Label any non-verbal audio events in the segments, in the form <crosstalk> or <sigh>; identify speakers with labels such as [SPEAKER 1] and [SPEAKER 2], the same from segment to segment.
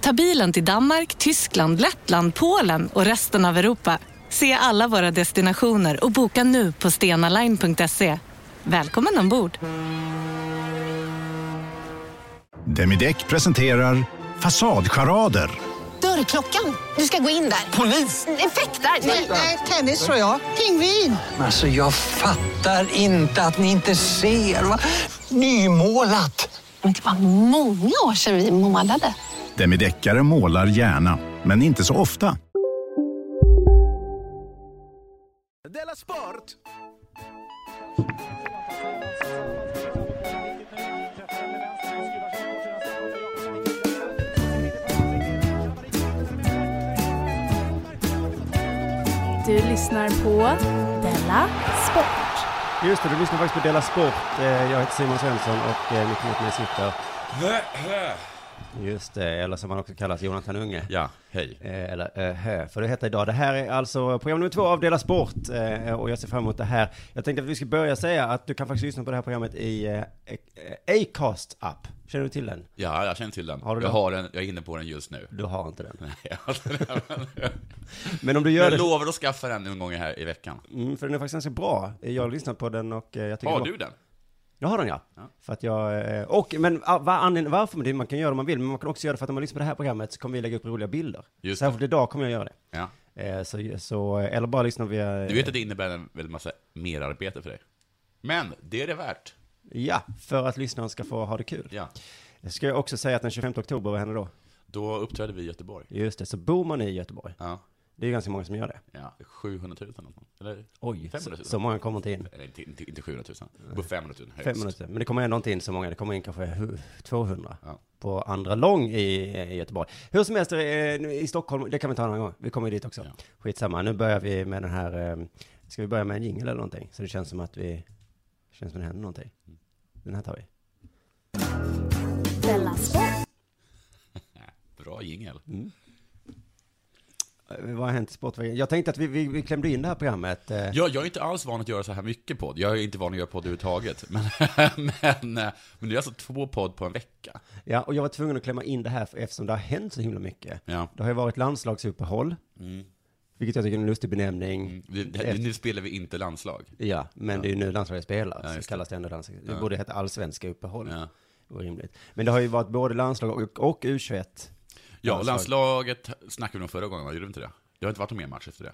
[SPEAKER 1] Ta bilen till Danmark, Tyskland, Lettland, Polen och resten av Europa. Se alla våra destinationer och boka nu på stenaline.se. Välkommen ombord!
[SPEAKER 2] Demideck presenterar Fasadcharader.
[SPEAKER 3] Dörrklockan. Du ska gå in där. Polis? Effektar? Nej, tennis tror jag. Pingvin.
[SPEAKER 4] Alltså jag fattar inte att ni inte ser. Va? Nymålat!
[SPEAKER 3] Men det var många år sedan vi målade.
[SPEAKER 2] Demideckare målar gärna, men inte så ofta.
[SPEAKER 5] Du lyssnar på Della Sport.
[SPEAKER 6] Just det, du lyssnar faktiskt på Dela Sport. Eh, Jag heter Simon Svensson och eh, mitt emot mig sitter... Just det, eller som han också kallas, Jonathan Unge.
[SPEAKER 7] Ja, hej.
[SPEAKER 6] Eh, Eller eh, hö, för det heter idag. Det här är alltså program nummer två av Dela Sport eh, och jag ser fram emot det här. Jag tänkte att vi ska börja säga att du kan faktiskt lyssna på det här programmet i eh, eh, Acast app. Känner du till den?
[SPEAKER 7] Ja, jag känner till den.
[SPEAKER 6] Har du
[SPEAKER 7] jag,
[SPEAKER 6] den?
[SPEAKER 7] har den jag är inne på den just nu. <laughs>
[SPEAKER 6] Du har inte den.
[SPEAKER 7] Nej, jag har inte den.
[SPEAKER 6] Men om du gör
[SPEAKER 7] jag
[SPEAKER 6] det...
[SPEAKER 7] lovar att skaffa den någon gång här i veckan.
[SPEAKER 6] Mm, för den är faktiskt ganska bra. Jag har lyssnat på den och eh, jag tycker...
[SPEAKER 7] Har
[SPEAKER 6] det var-
[SPEAKER 7] du den?
[SPEAKER 6] Jag har den ja.
[SPEAKER 7] Ja.
[SPEAKER 6] För att jag, eh, och, men ah, vad anledningen- varför, men det- man kan göra det om man vill, men man kan också göra det för att om man lyssnar på det här programmet så kommer vi lägga upp roliga bilder.
[SPEAKER 7] Just det.
[SPEAKER 6] Särskilt idag kommer jag göra det.
[SPEAKER 7] Ja.
[SPEAKER 6] Eh, Så, så, eh, eller bara lyssna via...
[SPEAKER 7] Du vet att det innebär en väldigt massa merarbete för dig. Men det är det värt.
[SPEAKER 6] Ja, för att lyssnaren ska få ha det kul.
[SPEAKER 7] Ja.
[SPEAKER 6] Ska jag också säga att den 25 oktober, vad händer då?
[SPEAKER 7] Då uppträder vi i Göteborg.
[SPEAKER 6] Just det, så bor man i Göteborg.
[SPEAKER 7] Ja.
[SPEAKER 6] Det är ju ganska många som gör det.
[SPEAKER 7] ja. 700 000 eller något. Eller
[SPEAKER 6] Oj,
[SPEAKER 7] 500
[SPEAKER 6] så,
[SPEAKER 7] 000.
[SPEAKER 6] så många kommer inte in.
[SPEAKER 7] Eller inte, inte, inte 700 000. Det går 500 000 högst.
[SPEAKER 6] 500 000. Men det kommer ändå inte in så många, det kommer in kanske hu- 200
[SPEAKER 7] Ja.
[SPEAKER 6] på andra lång i, i Göteborg. Hur som helst, eh, i Stockholm, det kan vi ta en annan gång, vi kommer ju dit också.
[SPEAKER 7] Ja.
[SPEAKER 6] Skitsamma, nu börjar vi med den här, eh, ska vi börja med en jingle eller någonting? Så det känns som att vi, det känns som det händer någonting.
[SPEAKER 7] Mm.
[SPEAKER 6] Den här tar vi.
[SPEAKER 5] Della Sport.
[SPEAKER 7] Bra jingel.
[SPEAKER 6] Mm. Eh, Vad har hänt i sportvägen? Jag tänkte att vi, vi, vi klämde in det här programmet. eh,
[SPEAKER 7] Ja, jag är inte alls van att göra så här mycket podd. Jag är inte van att göra podd överhuvudtaget. <laughs> Men, men, eh, men det är alltså två podd på en vecka.
[SPEAKER 6] Ja, och jag var tvungen att klämma in det här för- eftersom det har hänt så himla mycket.
[SPEAKER 7] Ja.
[SPEAKER 6] Det har ju varit landslagsuppehåll, vilket jag tycker är en lustig benämning.
[SPEAKER 7] Mm. Vi, det, nu spelar vi inte landslag.
[SPEAKER 6] Ja, men det är ju nu landslaget spelar,
[SPEAKER 7] Ja,
[SPEAKER 6] så
[SPEAKER 7] just det.
[SPEAKER 6] kallas det ändå landslag. Det borde heta allsvenska uppehåll.
[SPEAKER 7] Ja.
[SPEAKER 6] Orimligt. Men det har ju varit både landslag och, och U21.
[SPEAKER 7] Ja,
[SPEAKER 6] Landslag.
[SPEAKER 7] landslaget snackade vi om förra gången, va? gjorde vi inte det? Det har inte varit någon mer match efter det?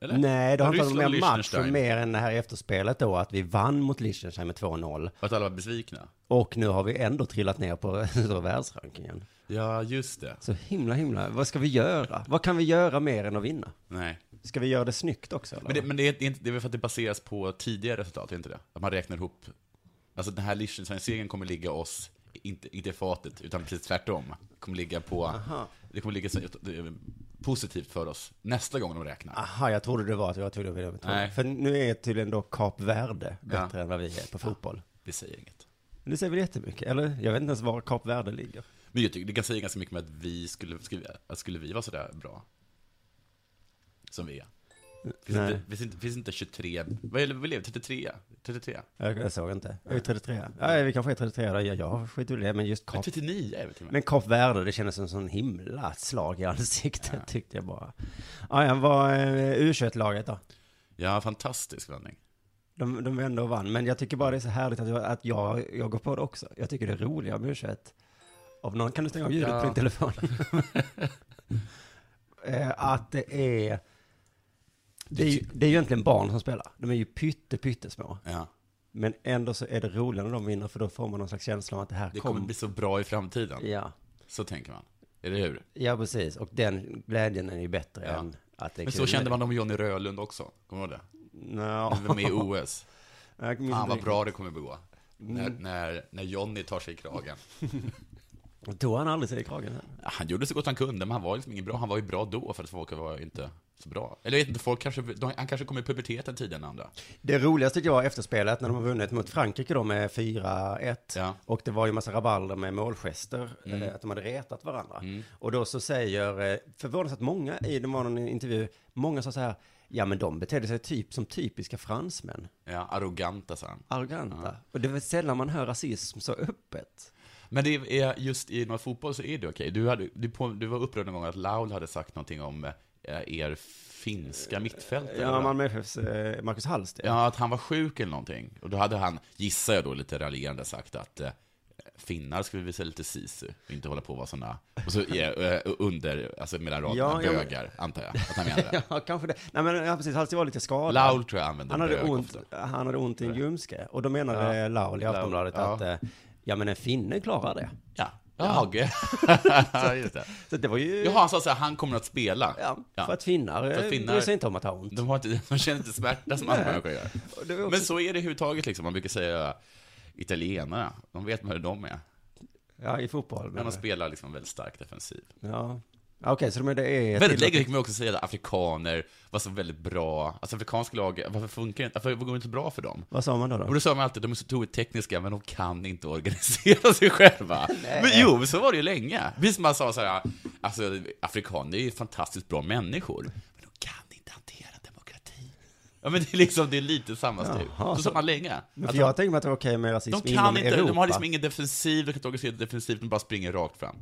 [SPEAKER 7] Eller?
[SPEAKER 6] Nej, det har inte varit
[SPEAKER 7] Ryssland
[SPEAKER 6] mer
[SPEAKER 7] och
[SPEAKER 6] match och
[SPEAKER 7] Liechtenstein.
[SPEAKER 6] mer än det här efterspelet då, att vi vann mot Liechtenstein med 2-0.
[SPEAKER 7] Att alla var besvikna?
[SPEAKER 6] Och nu har vi ändå trillat ner på <laughs> världsrankingen.
[SPEAKER 7] Ja, just det.
[SPEAKER 6] Så himla, himla, vad ska vi göra? Vad kan vi göra mer än att vinna?
[SPEAKER 7] Nej.
[SPEAKER 6] Ska vi göra det snyggt också? Eller?
[SPEAKER 7] Men det, men det, är, det, är inte, det är väl för att det baseras på tidigare resultat, är inte det? Att man räknar ihop... Alltså den här Liechtenstein-segern kommer ligga oss, inte, inte i fatet, utan precis tvärtom. Kommer ligga på... Det kommer ligga så, det är positivt för oss nästa gång de räknar.
[SPEAKER 6] Aha, jag trodde det var att jag trodde vi var
[SPEAKER 7] Nej.
[SPEAKER 6] För nu är tydligen då Kap Verde bättre
[SPEAKER 7] Ja.
[SPEAKER 6] än vad vi är på fotboll.
[SPEAKER 7] Det säger inget.
[SPEAKER 6] Men Det säger väl jättemycket, eller? Jag vet inte ens var Kap Verde ligger.
[SPEAKER 7] Men jag tycker det kan säga ganska mycket med att vi skulle, skulle, att skulle vi vara sådär bra. Som vi är. Finns,
[SPEAKER 6] Nej.
[SPEAKER 7] inte, finns, inte, finns inte 23, vad är det vi lever? 33? 33?
[SPEAKER 6] Jag, jag såg inte. Jag är 33. Ja, vi kanske är 33 då. Ja, jag skiter i det. Men just
[SPEAKER 7] Nej,
[SPEAKER 6] Kap...
[SPEAKER 7] 39 är vi till och med.
[SPEAKER 6] Men Kap Verde, det kändes som en sån himla slag i ansiktet, tyckte jag bara. Ja, ja, vad eh, U21-laget då?
[SPEAKER 7] Ja, fantastisk vändning.
[SPEAKER 6] De, de vände och vann. Men jag tycker bara det är så härligt att jag, att jag, jag går på det också. Jag tycker det är roligare med U21. Av någon, kan du stänga av ljudet
[SPEAKER 7] Ja.
[SPEAKER 6] på din <laughs> telefon? Eh, att det är... Det är, ju, det är ju egentligen barn som spelar. De är ju pytte, pyttesmå.
[SPEAKER 7] Ja.
[SPEAKER 6] Men ändå så är det roligare när de vinner för då får man någon slags känsla om att det här
[SPEAKER 7] Det kommer bli så bra i framtiden.
[SPEAKER 6] Ja.
[SPEAKER 7] Så tänker man. Eller hur?
[SPEAKER 6] ja, precis. Och den glädjen är ju bättre
[SPEAKER 7] Ja.
[SPEAKER 6] än att det är
[SPEAKER 7] Men
[SPEAKER 6] kul
[SPEAKER 7] så kände
[SPEAKER 6] nu.
[SPEAKER 7] man om Johnny Rölund också. Kommer du ihåg det?
[SPEAKER 6] Nå.
[SPEAKER 7] Han
[SPEAKER 6] <laughs>
[SPEAKER 7] var med i OS.
[SPEAKER 6] Jag minns inte
[SPEAKER 7] Fan vad
[SPEAKER 6] riktigt. Mm.
[SPEAKER 7] bra det kommer att gå. När, när, när Johnny tar sig i kragen.
[SPEAKER 6] Tog han aldrig sig i kragen?
[SPEAKER 7] Ja, Han gjorde så gott han kunde, men han var liksom ingen bra. Han var ju bra då, för att folk var inte så bra. Eller jag vet inte, folk kanske, de, han kanske kom i puberteten tidigare än andra.
[SPEAKER 6] Det roligaste tycker jag var efterspelet när de har vunnit mot Frankrike då med 4-1.
[SPEAKER 7] Ja. Mm.
[SPEAKER 6] Och det var ju massa rabalder med målgester, eh, att de hade retat varandra. Och då så säger, eh, förvånansvärt många i, det var någon intervju, många sa så här, ja men de betedde sig typ som typiska fransmän,
[SPEAKER 7] Ja, arroganta, sa han.
[SPEAKER 6] arroganta. Och det är väl sällan man hör rasism så öppet.
[SPEAKER 7] Men det är just inom fotboll så är det okej. Du, hade- du, på- du var upprörd någon gång att Laul hade sagt någonting om eh, er finska mittfältare.
[SPEAKER 6] Ja,
[SPEAKER 7] va?
[SPEAKER 6] Malmö FFs eh, Marcus Hallsten.
[SPEAKER 7] ja, att han var sjuk eller någonting. Och då hade han, gissar jag då, lite raljerande sagt att eh, finnar ska vi visa lite sisu, och inte hålla på och vara sådana, och så eh, under, alltså mellan raderna,
[SPEAKER 6] Ja, ja, men-
[SPEAKER 7] bögar, antar jag att han menade.
[SPEAKER 6] Ja, kanske det. Nej, men ja, precis. Halsey var lite skadad.
[SPEAKER 7] Laul tror jag använde
[SPEAKER 6] han hade,
[SPEAKER 7] bög
[SPEAKER 6] ont,
[SPEAKER 7] ofta.
[SPEAKER 6] han hade ont i en ljumske. Och då menade Laul i Aftonbladet
[SPEAKER 7] Laul,
[SPEAKER 6] att
[SPEAKER 7] ja.
[SPEAKER 6] eh, ja, men en finne klarar det.
[SPEAKER 7] Ja, jag. <laughs> Ja, just det.
[SPEAKER 6] Så det var ju...
[SPEAKER 7] Jaha, han sa så här, han kommer att spela.
[SPEAKER 6] Ja, För att finnar,
[SPEAKER 7] För
[SPEAKER 6] eh,
[SPEAKER 7] att finnar-
[SPEAKER 6] bryr sig inte om att ha ont.
[SPEAKER 7] De, har inte, de känner inte smärta som andra människor gör.
[SPEAKER 6] Och det var också-
[SPEAKER 7] Men så är det överhuvudtaget, liksom. man brukar säga italienarna, de vet hur de är.
[SPEAKER 6] Ja, i fotboll.
[SPEAKER 7] Men
[SPEAKER 6] Men,
[SPEAKER 7] de spelar liksom väldigt starkt defensiv.
[SPEAKER 6] ja. Ja, Okej, så de är- det är...
[SPEAKER 7] Väldigt länge fick man också säga att afrikaner var så väldigt bra, alltså afrikanska lag, varför funkar det inte, varför går det inte bra för dem?
[SPEAKER 6] Vad sa man då? då?
[SPEAKER 7] Och då sa man alltid, de är så otroligt tekniska, men de kan inte organisera <laughs> sig själva. men jo, men så var det ju länge. Visst, man sa så här, alltså afrikaner är ju fantastiskt bra människor, men de kan inte hantera demokrati. Ja, men det är liksom, det är lite samma stuk.
[SPEAKER 6] Jaha.
[SPEAKER 7] Så sa man länge.
[SPEAKER 6] Men
[SPEAKER 7] Att
[SPEAKER 6] för jag tänkte mig att det var okej med rasism
[SPEAKER 7] de kan
[SPEAKER 6] inom
[SPEAKER 7] inte,
[SPEAKER 6] Europa.
[SPEAKER 7] de har liksom ingen defensiv, de kan inte organisera defensivt, de bara springer rakt fram.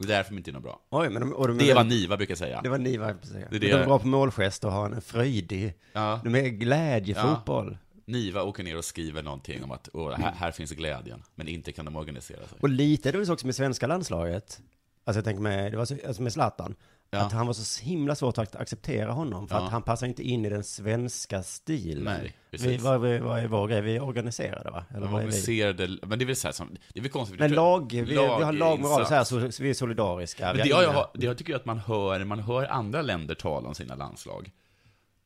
[SPEAKER 7] Det är därför de inte är något bra.
[SPEAKER 6] Oj, men de, och de,
[SPEAKER 7] Det är vad Niva brukar säga.
[SPEAKER 6] Det var ni, vad jag precis säga.
[SPEAKER 7] Det är
[SPEAKER 6] De
[SPEAKER 7] det-
[SPEAKER 6] är bra på målgest och har en fröjdig...
[SPEAKER 7] Ja.
[SPEAKER 6] De är glädjefotboll.
[SPEAKER 7] Niva åker ner och skriver någonting om att Åh, här, här finns glädjen, men inte kan de organisera sig.
[SPEAKER 6] Och lite är det väl så också med svenska landslaget. Alltså jag tänker med, det var så, alltså med Zlatan.
[SPEAKER 7] Ja.
[SPEAKER 6] Att han var så himla svårt att acceptera honom för
[SPEAKER 7] Ja.
[SPEAKER 6] att han passar inte in i den svenska stilen.
[SPEAKER 7] Nej, precis.
[SPEAKER 6] vi, vad, är- vad är vår grej? Vi är organiserade va? Eller
[SPEAKER 7] De
[SPEAKER 6] vad är vi?
[SPEAKER 7] organiserade, men det är väl så här som, det är väl konstigt. för
[SPEAKER 6] Men
[SPEAKER 7] det tror jag-
[SPEAKER 6] lag, vi, vi har lagmoral
[SPEAKER 7] insats.
[SPEAKER 6] så här, så, så vi är solidariska.
[SPEAKER 7] Men
[SPEAKER 6] vi
[SPEAKER 7] det,
[SPEAKER 6] har
[SPEAKER 7] jag,
[SPEAKER 6] inga-
[SPEAKER 7] har- det jag tycker att man hör, man hör andra länder tala om sina landslag,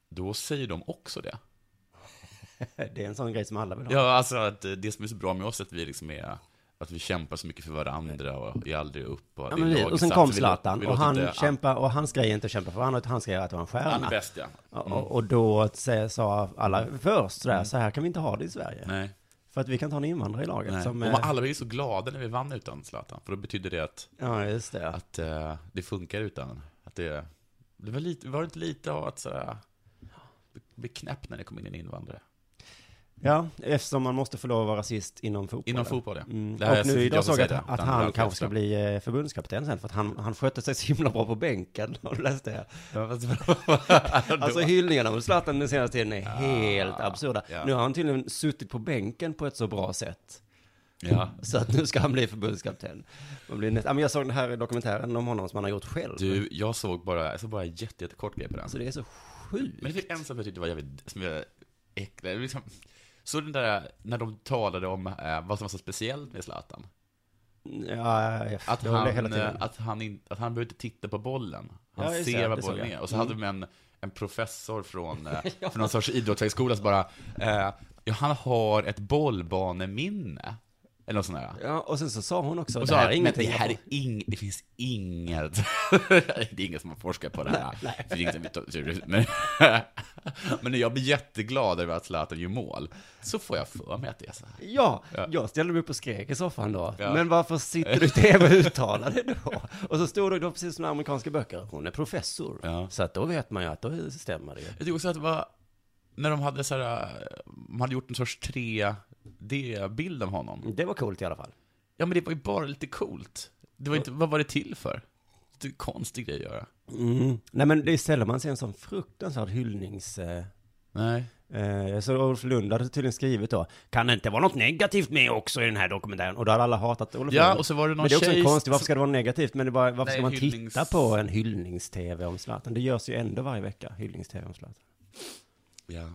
[SPEAKER 7] då säger de också det.
[SPEAKER 6] Det är en sån grej som alla vill ha.
[SPEAKER 7] Ja, alltså att eh, det som är så bra med oss är att vi liksom är att vi kämpar så mycket för varandra och ger aldrig upp. Och,
[SPEAKER 6] Ja,
[SPEAKER 7] det är
[SPEAKER 6] men vi,
[SPEAKER 7] laginsats.
[SPEAKER 6] och sen kom
[SPEAKER 7] Vi lå- vi
[SPEAKER 6] Zlatan och
[SPEAKER 7] låter
[SPEAKER 6] han
[SPEAKER 7] inte-
[SPEAKER 6] kämpar, och hans grej är inte att kämpa för varandra, utan hans grej är att vara en stjärna.
[SPEAKER 7] Han är bäst, ja.
[SPEAKER 6] och, och då sä- sa alla först sådär,
[SPEAKER 7] Mm.
[SPEAKER 6] så här kan vi inte ha det i Sverige.
[SPEAKER 7] Nej.
[SPEAKER 6] För att vi kan ta en invandrare i laget
[SPEAKER 7] Nej.
[SPEAKER 6] som...
[SPEAKER 7] och
[SPEAKER 6] eh,
[SPEAKER 7] man, alla blev ju så glada när vi vann utan Zlatan, för då betyder det att,
[SPEAKER 6] Ja, just det.
[SPEAKER 7] att eh, det funkar utan. Att det, det var, lite, var det inte lite av att sådär, bli knäpp när det kom in en invandrare?
[SPEAKER 6] Ja, eftersom man måste få lov att vara rasist inom fotboll.
[SPEAKER 7] Inom fotboll, ja.
[SPEAKER 6] Mm.
[SPEAKER 7] Det här
[SPEAKER 6] och
[SPEAKER 7] är-
[SPEAKER 6] nu
[SPEAKER 7] jag
[SPEAKER 6] idag
[SPEAKER 7] får
[SPEAKER 6] såg jag
[SPEAKER 7] säga
[SPEAKER 6] att,
[SPEAKER 7] det.
[SPEAKER 6] att
[SPEAKER 7] Det handlar
[SPEAKER 6] han
[SPEAKER 7] om
[SPEAKER 6] kanske ska
[SPEAKER 7] <laughs> fotboll.
[SPEAKER 6] bli eh, förbundskapten sen för att han, han skötte sig så himla bra på bänken. <laughs> Har du läst det?
[SPEAKER 7] <laughs>
[SPEAKER 6] Alltså hyllningarna om Zlatan den senaste tiden är helt absurda.
[SPEAKER 7] ja.
[SPEAKER 6] Nu har han tydligen suttit på bänken på ett så bra sätt.
[SPEAKER 7] ja.
[SPEAKER 6] Så att nu ska han bli förbundskapten. Och bli nästa- ja, men jag såg den här dokumentären om honom som han har gjort själv.
[SPEAKER 7] Du, jag såg bara, jag såg bara en jätte, jättekort grej på den.
[SPEAKER 6] Så Alltså, det är så sjukt.
[SPEAKER 7] Men det var en sak jag tyckte var jävligt, som jag äcklade, liksom. Så den där, när de talade om eh, vad som var så speciellt med Zlatan.
[SPEAKER 6] Ja, jag
[SPEAKER 7] Att
[SPEAKER 6] jag
[SPEAKER 7] han,
[SPEAKER 6] blev hela tiden.
[SPEAKER 7] eh, att han, in, att han behövde titta på bollen.
[SPEAKER 6] Ja,
[SPEAKER 7] Han
[SPEAKER 6] just det,
[SPEAKER 7] ser vad
[SPEAKER 6] det såg
[SPEAKER 7] bollen
[SPEAKER 6] jag. Mm.
[SPEAKER 7] är. Och så hade de en, en professor
[SPEAKER 6] <laughs>
[SPEAKER 7] från, eh, från någon sorts idrottshögskola som bara, eh, ja, han har ett bollbaneminne. Eller något sånt där.
[SPEAKER 6] Ja, och sen så sa hon också,
[SPEAKER 7] Och
[SPEAKER 6] det
[SPEAKER 7] så,
[SPEAKER 6] här är
[SPEAKER 7] men det
[SPEAKER 6] ingenting.
[SPEAKER 7] här är ing, det finns inget, <laughs> det är ingen som har forskat på det här. Det finns inget som vi- men, <laughs> men när jag blir jätteglad över att Zlatan gör mål, så får jag för mig att det är så här.
[SPEAKER 6] Ja, jag ställde mig upp och skrek i soffan då.
[SPEAKER 7] Ja.
[SPEAKER 6] Men varför sitter du i tv och uttalar dig då? Och så stod det, det var precis som i amerikanska böcker, hon är professor.
[SPEAKER 7] Ja.
[SPEAKER 6] Så att då vet man ju att då stämmer det ju.
[SPEAKER 7] Jag tycker också att det var, när de hade så här, de hade gjort en sorts 3D-bild av honom.
[SPEAKER 6] Det var coolt i alla fall.
[SPEAKER 7] Ja men det var ju bara lite coolt. Det var inte, vad var det till för? Det är en konstig grej att göra.
[SPEAKER 6] Mm. Nej men det är sällan man ser en sån fruktansvärd hyllnings... Eh,
[SPEAKER 7] Nej.
[SPEAKER 6] eh, jag såg Olof Lund hade tydligen skrivit då, kan det inte vara något negativt med också i den här dokumentären? Och då hade alla hatat Olof
[SPEAKER 7] Ja,
[SPEAKER 6] Lund.
[SPEAKER 7] och så var det någon
[SPEAKER 6] men det är också
[SPEAKER 7] tjej-
[SPEAKER 6] en konstigt, varför ska det vara negativt? Men det var, varför
[SPEAKER 7] Nej,
[SPEAKER 6] ska man
[SPEAKER 7] hyllnings-
[SPEAKER 6] titta på en hyllnings-tv om Zlatan? Det görs ju ändå varje vecka, hyllnings-tv om Zlatan.
[SPEAKER 7] Ja.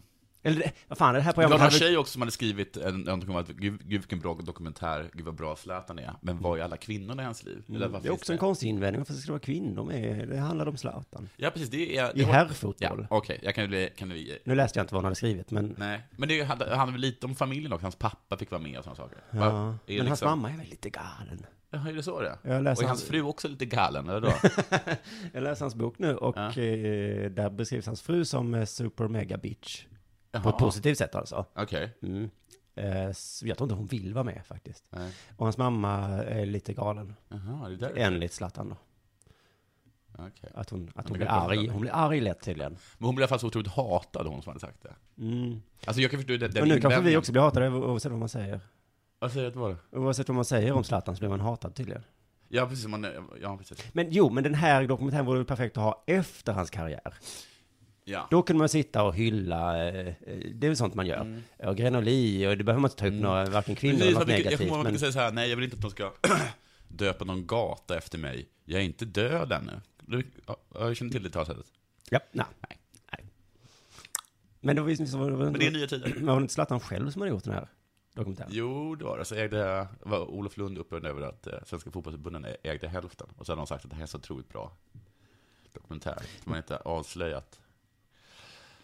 [SPEAKER 6] Eller det- vad fan, är det här
[SPEAKER 7] Det var
[SPEAKER 6] programmet
[SPEAKER 7] någon
[SPEAKER 6] hade-
[SPEAKER 7] tjej också som hade skrivit en, någonting om att gud, gud vilken bra dokumentär, gud vad bra Zlatan är, men var är alla kvinnorna i hans liv? Eller vad
[SPEAKER 6] Mm, Det är
[SPEAKER 7] finns
[SPEAKER 6] också en konstig invändning, varför ska det vara kvinnor med? Det handlar om Zlatan.
[SPEAKER 7] Ja precis, det är...
[SPEAKER 6] I
[SPEAKER 7] Ja,
[SPEAKER 6] herrfotboll.
[SPEAKER 7] okej, jag kan ju... bli- Kan ju
[SPEAKER 6] Nu läste jag inte vad han hade skrivit, men...
[SPEAKER 7] nej, men det handlar väl lite om familjen också, hans pappa fick vara med och sådana saker. Va?
[SPEAKER 6] Ja.
[SPEAKER 7] Är
[SPEAKER 6] Men hans
[SPEAKER 7] liksom-
[SPEAKER 6] mamma är väl lite galen?
[SPEAKER 7] Jaha, är det så det är?
[SPEAKER 6] Jag läser
[SPEAKER 7] Och är
[SPEAKER 6] hans-
[SPEAKER 7] hans fru också lite
[SPEAKER 6] <laughs>
[SPEAKER 7] galen, eller då?
[SPEAKER 6] Jag läser hans bok nu och
[SPEAKER 7] Ja.
[SPEAKER 6] eh, där beskrivs hans fru som eh, super mega bitch. På
[SPEAKER 7] Jaha,
[SPEAKER 6] ett positivt sätt alltså.
[SPEAKER 7] Okej.
[SPEAKER 6] Mm. Eh, så jag tror inte hon vill vara med faktiskt.
[SPEAKER 7] Nej.
[SPEAKER 6] Och hans mamma är lite galen.
[SPEAKER 7] Jaha, det där är
[SPEAKER 6] Enligt Zlatan då.
[SPEAKER 7] Okej.
[SPEAKER 6] Att hon, att
[SPEAKER 7] det
[SPEAKER 6] hon blir
[SPEAKER 7] kan jag
[SPEAKER 6] arg.
[SPEAKER 7] kolla.
[SPEAKER 6] Hon blir arg lätt tydligen.
[SPEAKER 7] Men hon blev i alla fall så otroligt hatad, hon som hade sagt det.
[SPEAKER 6] Mm.
[SPEAKER 7] Alltså jag kan förstå den, den
[SPEAKER 6] Och nu kanske vi
[SPEAKER 7] invändningen.
[SPEAKER 6] också blir hatade o- oavsett vad man säger.
[SPEAKER 7] Vad säger du att det var?
[SPEAKER 6] Oavsett vad man säger om Zlatan så blir man hatad tydligen.
[SPEAKER 7] Ja, precis. Man, ja, precis.
[SPEAKER 6] Men jo, men den här dokumentären vore väl perfekt att ha efter hans karriär.
[SPEAKER 7] Ja.
[SPEAKER 6] Då kunde man sitta och hylla, eh, eh, det är väl sånt man gör. Och Grenoli, och det behöver man inte ta upp några, varken kvinnor eller
[SPEAKER 7] Precis,
[SPEAKER 6] något
[SPEAKER 7] man brukar- jag kommer
[SPEAKER 6] negativt.
[SPEAKER 7] ihåg att man
[SPEAKER 6] Men,
[SPEAKER 7] brukar säga så här, nej jag vill inte att de ska <clears throat> döpa någon gata efter mig. Jag är inte död ännu. Du, ja, jag känner till det talsättet.
[SPEAKER 6] ja, nej. nej. Men det var ju så, var, var,
[SPEAKER 7] Men det är nya tider.
[SPEAKER 6] var det inte Zlatan själv som hade gjort den här dokumentären?
[SPEAKER 7] Jo, det var det. Så ägde, var Olof Lund upprörd över att eh, Svenska fotbollsförbundet ägde hälften. Och så hade de sagt att det här är så otroligt bra dokumentär. Som man inte avslöjat.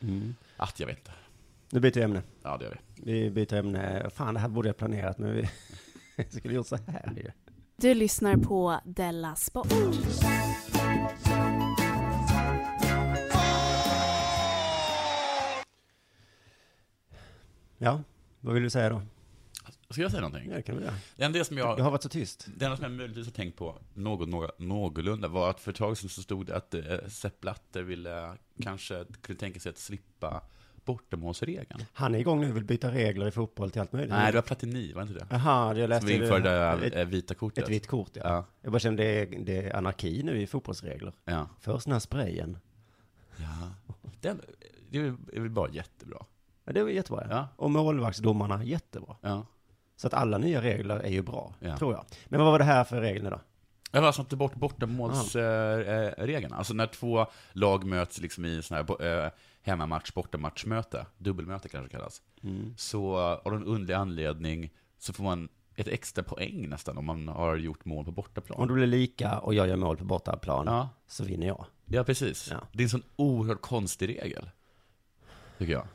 [SPEAKER 6] Mm.
[SPEAKER 7] Att jag vet inte.
[SPEAKER 6] Nu byter vi ämne.
[SPEAKER 7] Ja, det gör vi.
[SPEAKER 6] Vi byter ämne. Fan, det här borde jag planerat, men vi <laughs> skulle gjort så här ju.
[SPEAKER 5] Du lyssnar på Della Sport.
[SPEAKER 6] Ja, vad vill du säga då?
[SPEAKER 7] Ska jag säga någonting?
[SPEAKER 6] Ja, det kan vi göra.
[SPEAKER 7] Det enda som jag...
[SPEAKER 6] Du har varit så tyst.
[SPEAKER 7] Det enda som jag möjligtvis har tänkt på något, några, någorlunda var att för ett tag sedan så stod det att eh, Sepp Blatter ville, eh, kanske kunde tänka sig att slippa bortamålsregeln.
[SPEAKER 6] Han är igång nu och vill byta regler i fotboll till allt möjligt.
[SPEAKER 7] Nej, det var Platini, var det inte det?
[SPEAKER 6] Aha, jag läste
[SPEAKER 7] Som införde
[SPEAKER 6] ett,
[SPEAKER 7] det,
[SPEAKER 6] ett,
[SPEAKER 7] eh, vita kortet.
[SPEAKER 6] ett vitt kort, ja.
[SPEAKER 7] Ja.
[SPEAKER 6] Jag bara kände det, är- det är anarki nu i fotbollsregler.
[SPEAKER 7] ja.
[SPEAKER 6] Först den här sprayen.
[SPEAKER 7] ja. Det, det är väl bara jättebra.
[SPEAKER 6] Ja, det var jättebra. Ja.
[SPEAKER 7] Ja.
[SPEAKER 6] Och målvaktsdomarna, jättebra.
[SPEAKER 7] Ja.
[SPEAKER 6] Så att alla nya regler är ju bra,
[SPEAKER 7] Ja.
[SPEAKER 6] tror jag. Men vad var det här för regler då?
[SPEAKER 7] Jag var alltså inte bort bortamålsregeln. Alltså när två lag möts liksom i sån här bo- eh, hemmamatch, bortamatchmöte, dubbelmöte kanske det kallas.
[SPEAKER 6] Mm.
[SPEAKER 7] Så eh, av någon underlig anledning så får man ett extra poäng nästan om man har gjort mål på
[SPEAKER 6] Om
[SPEAKER 7] bortaplan.
[SPEAKER 6] du blir lika och jag gör mål på bortaplan,
[SPEAKER 7] Ja.
[SPEAKER 6] så vinner jag.
[SPEAKER 7] Ja, precis.
[SPEAKER 6] Ja.
[SPEAKER 7] Det är en sån oerhört konstig regel. Tycker jag.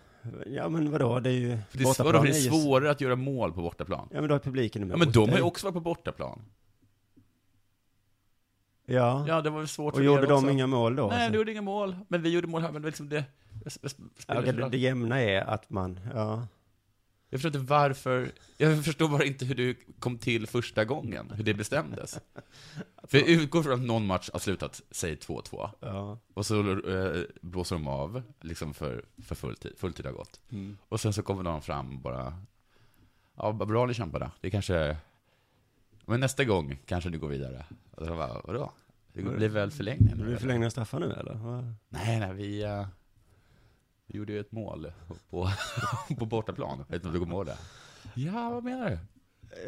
[SPEAKER 6] Ja, men vadå, det är ju...
[SPEAKER 7] För det är, vadå, det är
[SPEAKER 6] ju-
[SPEAKER 7] svårare att göra mål på bortaplan.
[SPEAKER 6] Ja, men då är publiken emot
[SPEAKER 7] Ja, men de har
[SPEAKER 6] dig.
[SPEAKER 7] ju också varit på bortaplan.
[SPEAKER 6] Ja.
[SPEAKER 7] Ja, det var väl svårt
[SPEAKER 6] Och
[SPEAKER 7] för
[SPEAKER 6] gjorde
[SPEAKER 7] er
[SPEAKER 6] de
[SPEAKER 7] också.
[SPEAKER 6] inga mål då?
[SPEAKER 7] Nej,
[SPEAKER 6] så-
[SPEAKER 7] de gjorde inga mål. Men vi gjorde mål här, men liksom det...
[SPEAKER 6] Ja,
[SPEAKER 7] spelar
[SPEAKER 6] okej,
[SPEAKER 7] så bra.
[SPEAKER 6] det, det jämna är att man, ja.
[SPEAKER 7] Jag förstår inte varför, jag förstår bara inte hur det kom till första gången, hur
[SPEAKER 6] <laughs>
[SPEAKER 7] det bestämdes. För jag utgår från att någon match har slutat, säg 2-2,
[SPEAKER 6] ja.
[SPEAKER 7] och så eh, blåser de av, liksom för, för full tid, full tid har gått. Och sen så kommer någon fram och bara, ja, vad bra ni kämpade, det kanske, men nästa gång kanske du går vidare. Och så bara, vadå? Det blir väl förlängning
[SPEAKER 6] Blir
[SPEAKER 7] nu?
[SPEAKER 6] Mm. det
[SPEAKER 7] eller?"
[SPEAKER 6] förlängda straffar nu eller? Vad-
[SPEAKER 7] Nej, nej, vi, eh, vi gjorde ju ett mål på, <laughs> på bortaplan. Jag vet inte om du kommer ihåg det? Ja, vad menar du?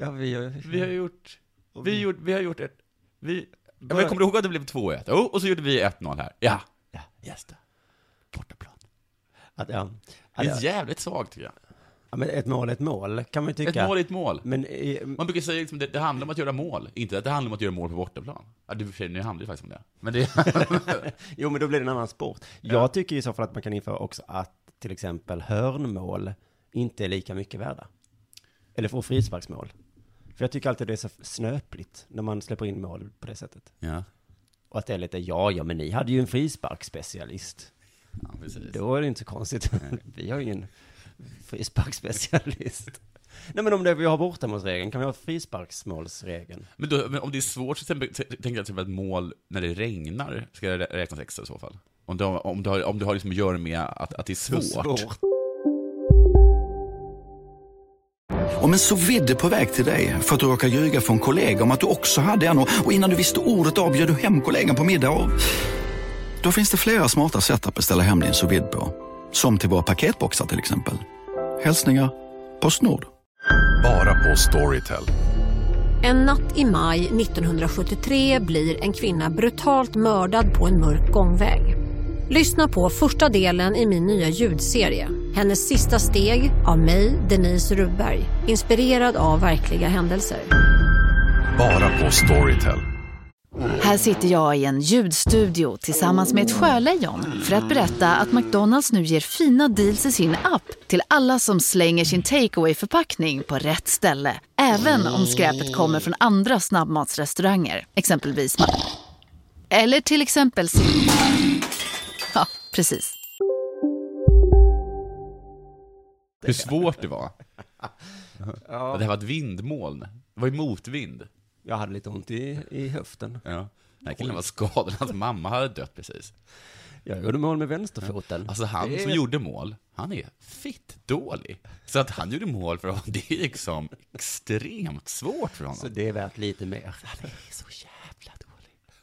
[SPEAKER 6] Ja, vi gör
[SPEAKER 7] Vi har gjort,
[SPEAKER 6] Och
[SPEAKER 7] vi,
[SPEAKER 6] vi-
[SPEAKER 7] gjort, vi har gjort ett, vi, ja, men kommer du ihåg att det blev 2-1? Jo, och så gjorde vi 1-0 här. Ja, ja, just det. Bortaplan.
[SPEAKER 6] Att, ja.
[SPEAKER 7] Det
[SPEAKER 6] Att,
[SPEAKER 7] är
[SPEAKER 6] ja.
[SPEAKER 7] jävligt svagt tycker jag.
[SPEAKER 6] ja, men ett mål är ett mål, kan man ju
[SPEAKER 7] Ett
[SPEAKER 6] tycka.
[SPEAKER 7] mål är ett mål.
[SPEAKER 6] Men, eh,
[SPEAKER 7] Man brukar säga liksom, det, det handlar om att göra mål, inte att det handlar om att göra mål på bortaplan. Ja, det, i och för sig, nu handlar det faktiskt om det. Men det, <laughs>
[SPEAKER 6] jo, men då blir det en annan sport. Jag tycker i så fall att man kan införa också att till exempel hörnmål inte är lika mycket värda. Eller få frisparksmål. För jag tycker alltid det är så snöpligt när man släpper in mål på det sättet.
[SPEAKER 7] ja,
[SPEAKER 6] Och att det är lite, ja, ja, men ni hade ju en frisparksspecialist.
[SPEAKER 7] ja, precis.
[SPEAKER 6] Då är det inte så konstigt. <laughs> Vi har ju ingen frisparksspecialist. Nej men om det, vi har bortamålsregeln, kan vi ha frisparksmålsregeln?
[SPEAKER 7] Men, då, men om det är svårt så tänker jag till exempel att mål när det regnar ska det rä- räknas extra i så fall. Om du, har- om du har, om du har liksom att göra med att, att det är svårt.
[SPEAKER 8] Om en så vidde på väg till dig för att du råkar ljuga från kollega om att du också hade en och och innan du visste ordet av bjöd du hem kollegan på middag och... Då finns det flera smarta sätt att beställa hem din sous vide på. Som till våra paketboxar till exempel. Hälsningar Postnord.
[SPEAKER 9] Bara på Storytel.
[SPEAKER 10] En natt i maj 1973 blir en kvinna brutalt mördad på en mörk gångväg. Lyssna på första delen i min nya ljudserie. Hennes sista steg av mig, Denise Rubberg. Inspirerad av verkliga händelser.
[SPEAKER 9] Bara på Storytel.
[SPEAKER 11] Här sitter jag i en ljudstudio tillsammans med ett sjölejon för att berätta att McDonalds nu ger fina deals i sin app till alla som slänger sin takeaway förpackning på rätt ställe. Även om skräpet kommer från andra snabbmatsrestauranger, exempelvis Ma- Eller till exempel Sil- Ja, precis.
[SPEAKER 7] Hur svårt det <laughs> var. Det här var ett vindmoln. Det var ju motvind.
[SPEAKER 6] Jag hade lite ont i, i höften.
[SPEAKER 7] Ja. Den här killen var skadad. Hans mamma hade dött precis.
[SPEAKER 6] Jag gjorde mål med vänsterfoten.
[SPEAKER 7] Alltså han
[SPEAKER 6] Det är-
[SPEAKER 7] som gjorde mål, han är fitt dålig. Så att han gjorde mål för honom, <laughs> det är liksom extremt svårt för honom. Så
[SPEAKER 6] det är värt lite mer. Han är så jävla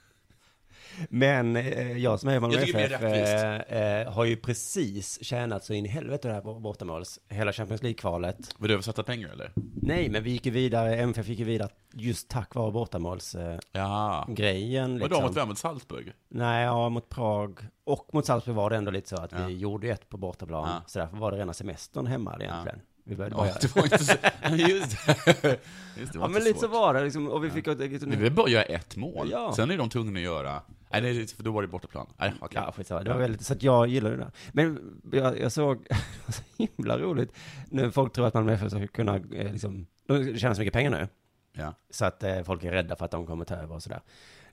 [SPEAKER 6] dålig. Men eh, jag som är Malmö
[SPEAKER 7] Jag tycker det
[SPEAKER 6] FF
[SPEAKER 7] blir rättvist.
[SPEAKER 6] eh, eh, har ju precis tjänat så in i helvete det här bortamåls, hela Champions League-kvalet.
[SPEAKER 7] Var du översatta pengar eller?
[SPEAKER 6] Nej, men vi gick ju vidare, MFF gick ju vidare just tack vare bortamålsgrejen.
[SPEAKER 7] Ja.
[SPEAKER 6] Eh, grejen,
[SPEAKER 7] Vadå,
[SPEAKER 6] liksom.
[SPEAKER 7] mot vem? Mot Salzburg?
[SPEAKER 6] Nej, ja, mot Prag och mot Salzburg var det ändå lite så att vi gjorde ett på bortaplan.
[SPEAKER 7] Ja.
[SPEAKER 6] Så därför var det rena semestern hemma egentligen. Vi började
[SPEAKER 7] Ja, det var inte så- Just det. Just det, det var
[SPEAKER 6] ja,
[SPEAKER 7] inte
[SPEAKER 6] men lite så
[SPEAKER 7] svårt.
[SPEAKER 6] var det liksom, och vi fick... ett- ett-
[SPEAKER 7] Vi behöver bara göra ett mål.
[SPEAKER 6] Ja.
[SPEAKER 7] Sen är de tvungna att göra... Nej, det är- för då var det bortaplan. Nej, okej.
[SPEAKER 6] Ja, skitsamma. Det var väldigt, så att jag gillar det där. Men jag, jag såg, <laughs> så himla roligt, när folk tror att Malmö FF ska kunna, eh, liksom, de tjänar så mycket pengar nu.
[SPEAKER 7] Ja.
[SPEAKER 6] Så att eh, folk är rädda för att de kommer ta över och sådär.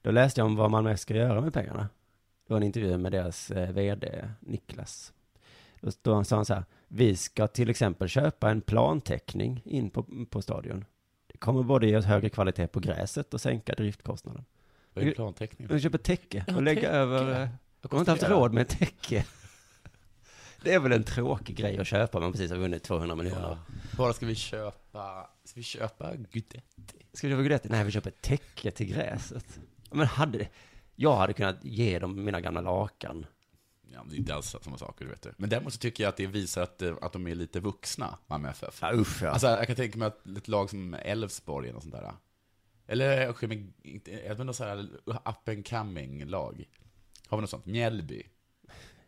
[SPEAKER 6] Då läste jag om vad Malmö FF ska göra med pengarna. Det var en intervju med deras eh, vd, Niklas. Då, då sa han så här, vi ska till exempel köpa en planteckning in på, på stadion. Det kommer både ge oss högre kvalitet på gräset och sänka driftkostnaden.
[SPEAKER 7] Vad är en planteckning?
[SPEAKER 6] De köper täcke
[SPEAKER 7] Ja,
[SPEAKER 6] och lägger
[SPEAKER 7] täcke.
[SPEAKER 6] över... eh, De har inte haft
[SPEAKER 7] Konstruera.
[SPEAKER 6] råd med ett täcke. <laughs> Det är väl en tråkig grej att köpa om man precis har vunnit 200 miljoner.
[SPEAKER 7] Bara ska vi köpa... Ska vi köpa Gudetti?
[SPEAKER 6] Ska vi köpa grädde? Nej, vi köper ett täcke till gräset. Ja, Men hade... Jag hade kunnat ge dem mina gamla lakan.
[SPEAKER 7] Ja, men det är inte alls samma saker, vet du. Men däremot så tycker jag att det visar att, eh, att de är lite vuxna, Malmö FF.
[SPEAKER 6] Ja, usch, ja.
[SPEAKER 7] Alltså, jag kan tänka mig att ett lag som Elfsborg eller något sånt där. Eller, jag men inte- jag vet inte, så här up and coming-lag. Har vi något sånt? Mjällby?